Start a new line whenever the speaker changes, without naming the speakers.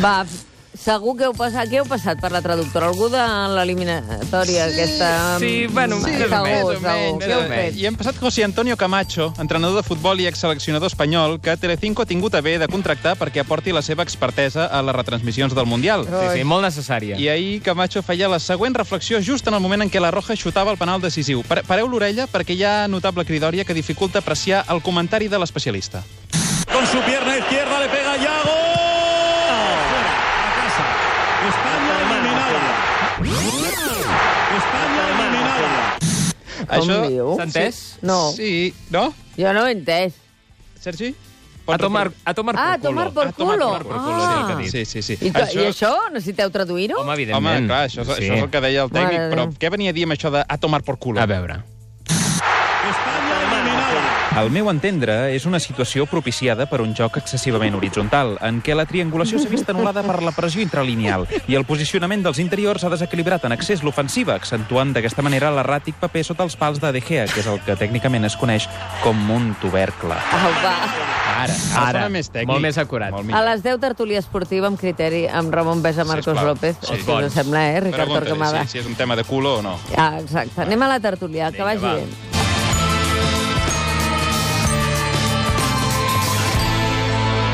Va, segur que heu passat... Què heu passat per la traductora? Algú de l'eliminatòria sí, aquesta?
Sí, bueno,
Mm,
sí,
segur,
més o
segur.
menys, més
Què
o
heu
menys.
fet?
I hem passat José Antonio Camacho, entrenador de futbol i exseleccionador espanyol, que Telecinco ha tingut a bé de contractar perquè aporti la seva expertesa a les retransmissions del Mundial.
Sí, sí, molt necessària.
I ahir Camacho feia la següent reflexió just en el moment en què la Roja xutava el penal decisiu. Pa- Pareu l'orella perquè hi ha notable cridòria que dificulta apreciar el comentari de l'especialista.
Con su pierna izquierda le pega Yago. España eliminada. España eliminada.
Com diu?
S'ha entès?
oh, No,
Sí, no?
jo no ho he entès.
Sergi?
A tomar, a tomar
Ah, a
por
tomar
culo.
por
A tomar
culo.
por
Ah.
culo, sí, el que ha dit.
Sí, sí, sí.
I, això... I això? Necessiteu traduir-ho?
Home,
Home,
evidentment.
clar, això, sí. això és el que deia el tècnic,
Mare de
però
Déu.
què venia a dir amb això de a tomar por culo?
A veure.
España eliminada.
Al meu entendre, és una situació propiciada per un joc excessivament horitzontal, en què la triangulació s'ha vist anul·lada per la pressió intralineal i el posicionament dels interiors s'ha desequilibrat en accés l'ofensiva, accentuant d'aquesta manera l'erràtic paper sota els pals de De Gea, que és el que tècnicament es coneix com un tubercle.
Au, Ah, va.
Ara, ara. Molt més acurat.
Molt
A les 10, tertúlia esportiva amb criteri amb Ramon Besa, Marcos
Sisplau.
López.
Sí.
És que us sembla, eh, Ricard Torquemada?
és un tema de culo o no.
Ah, exacte. Anem a la tertúlia, que vagi
va.
bé.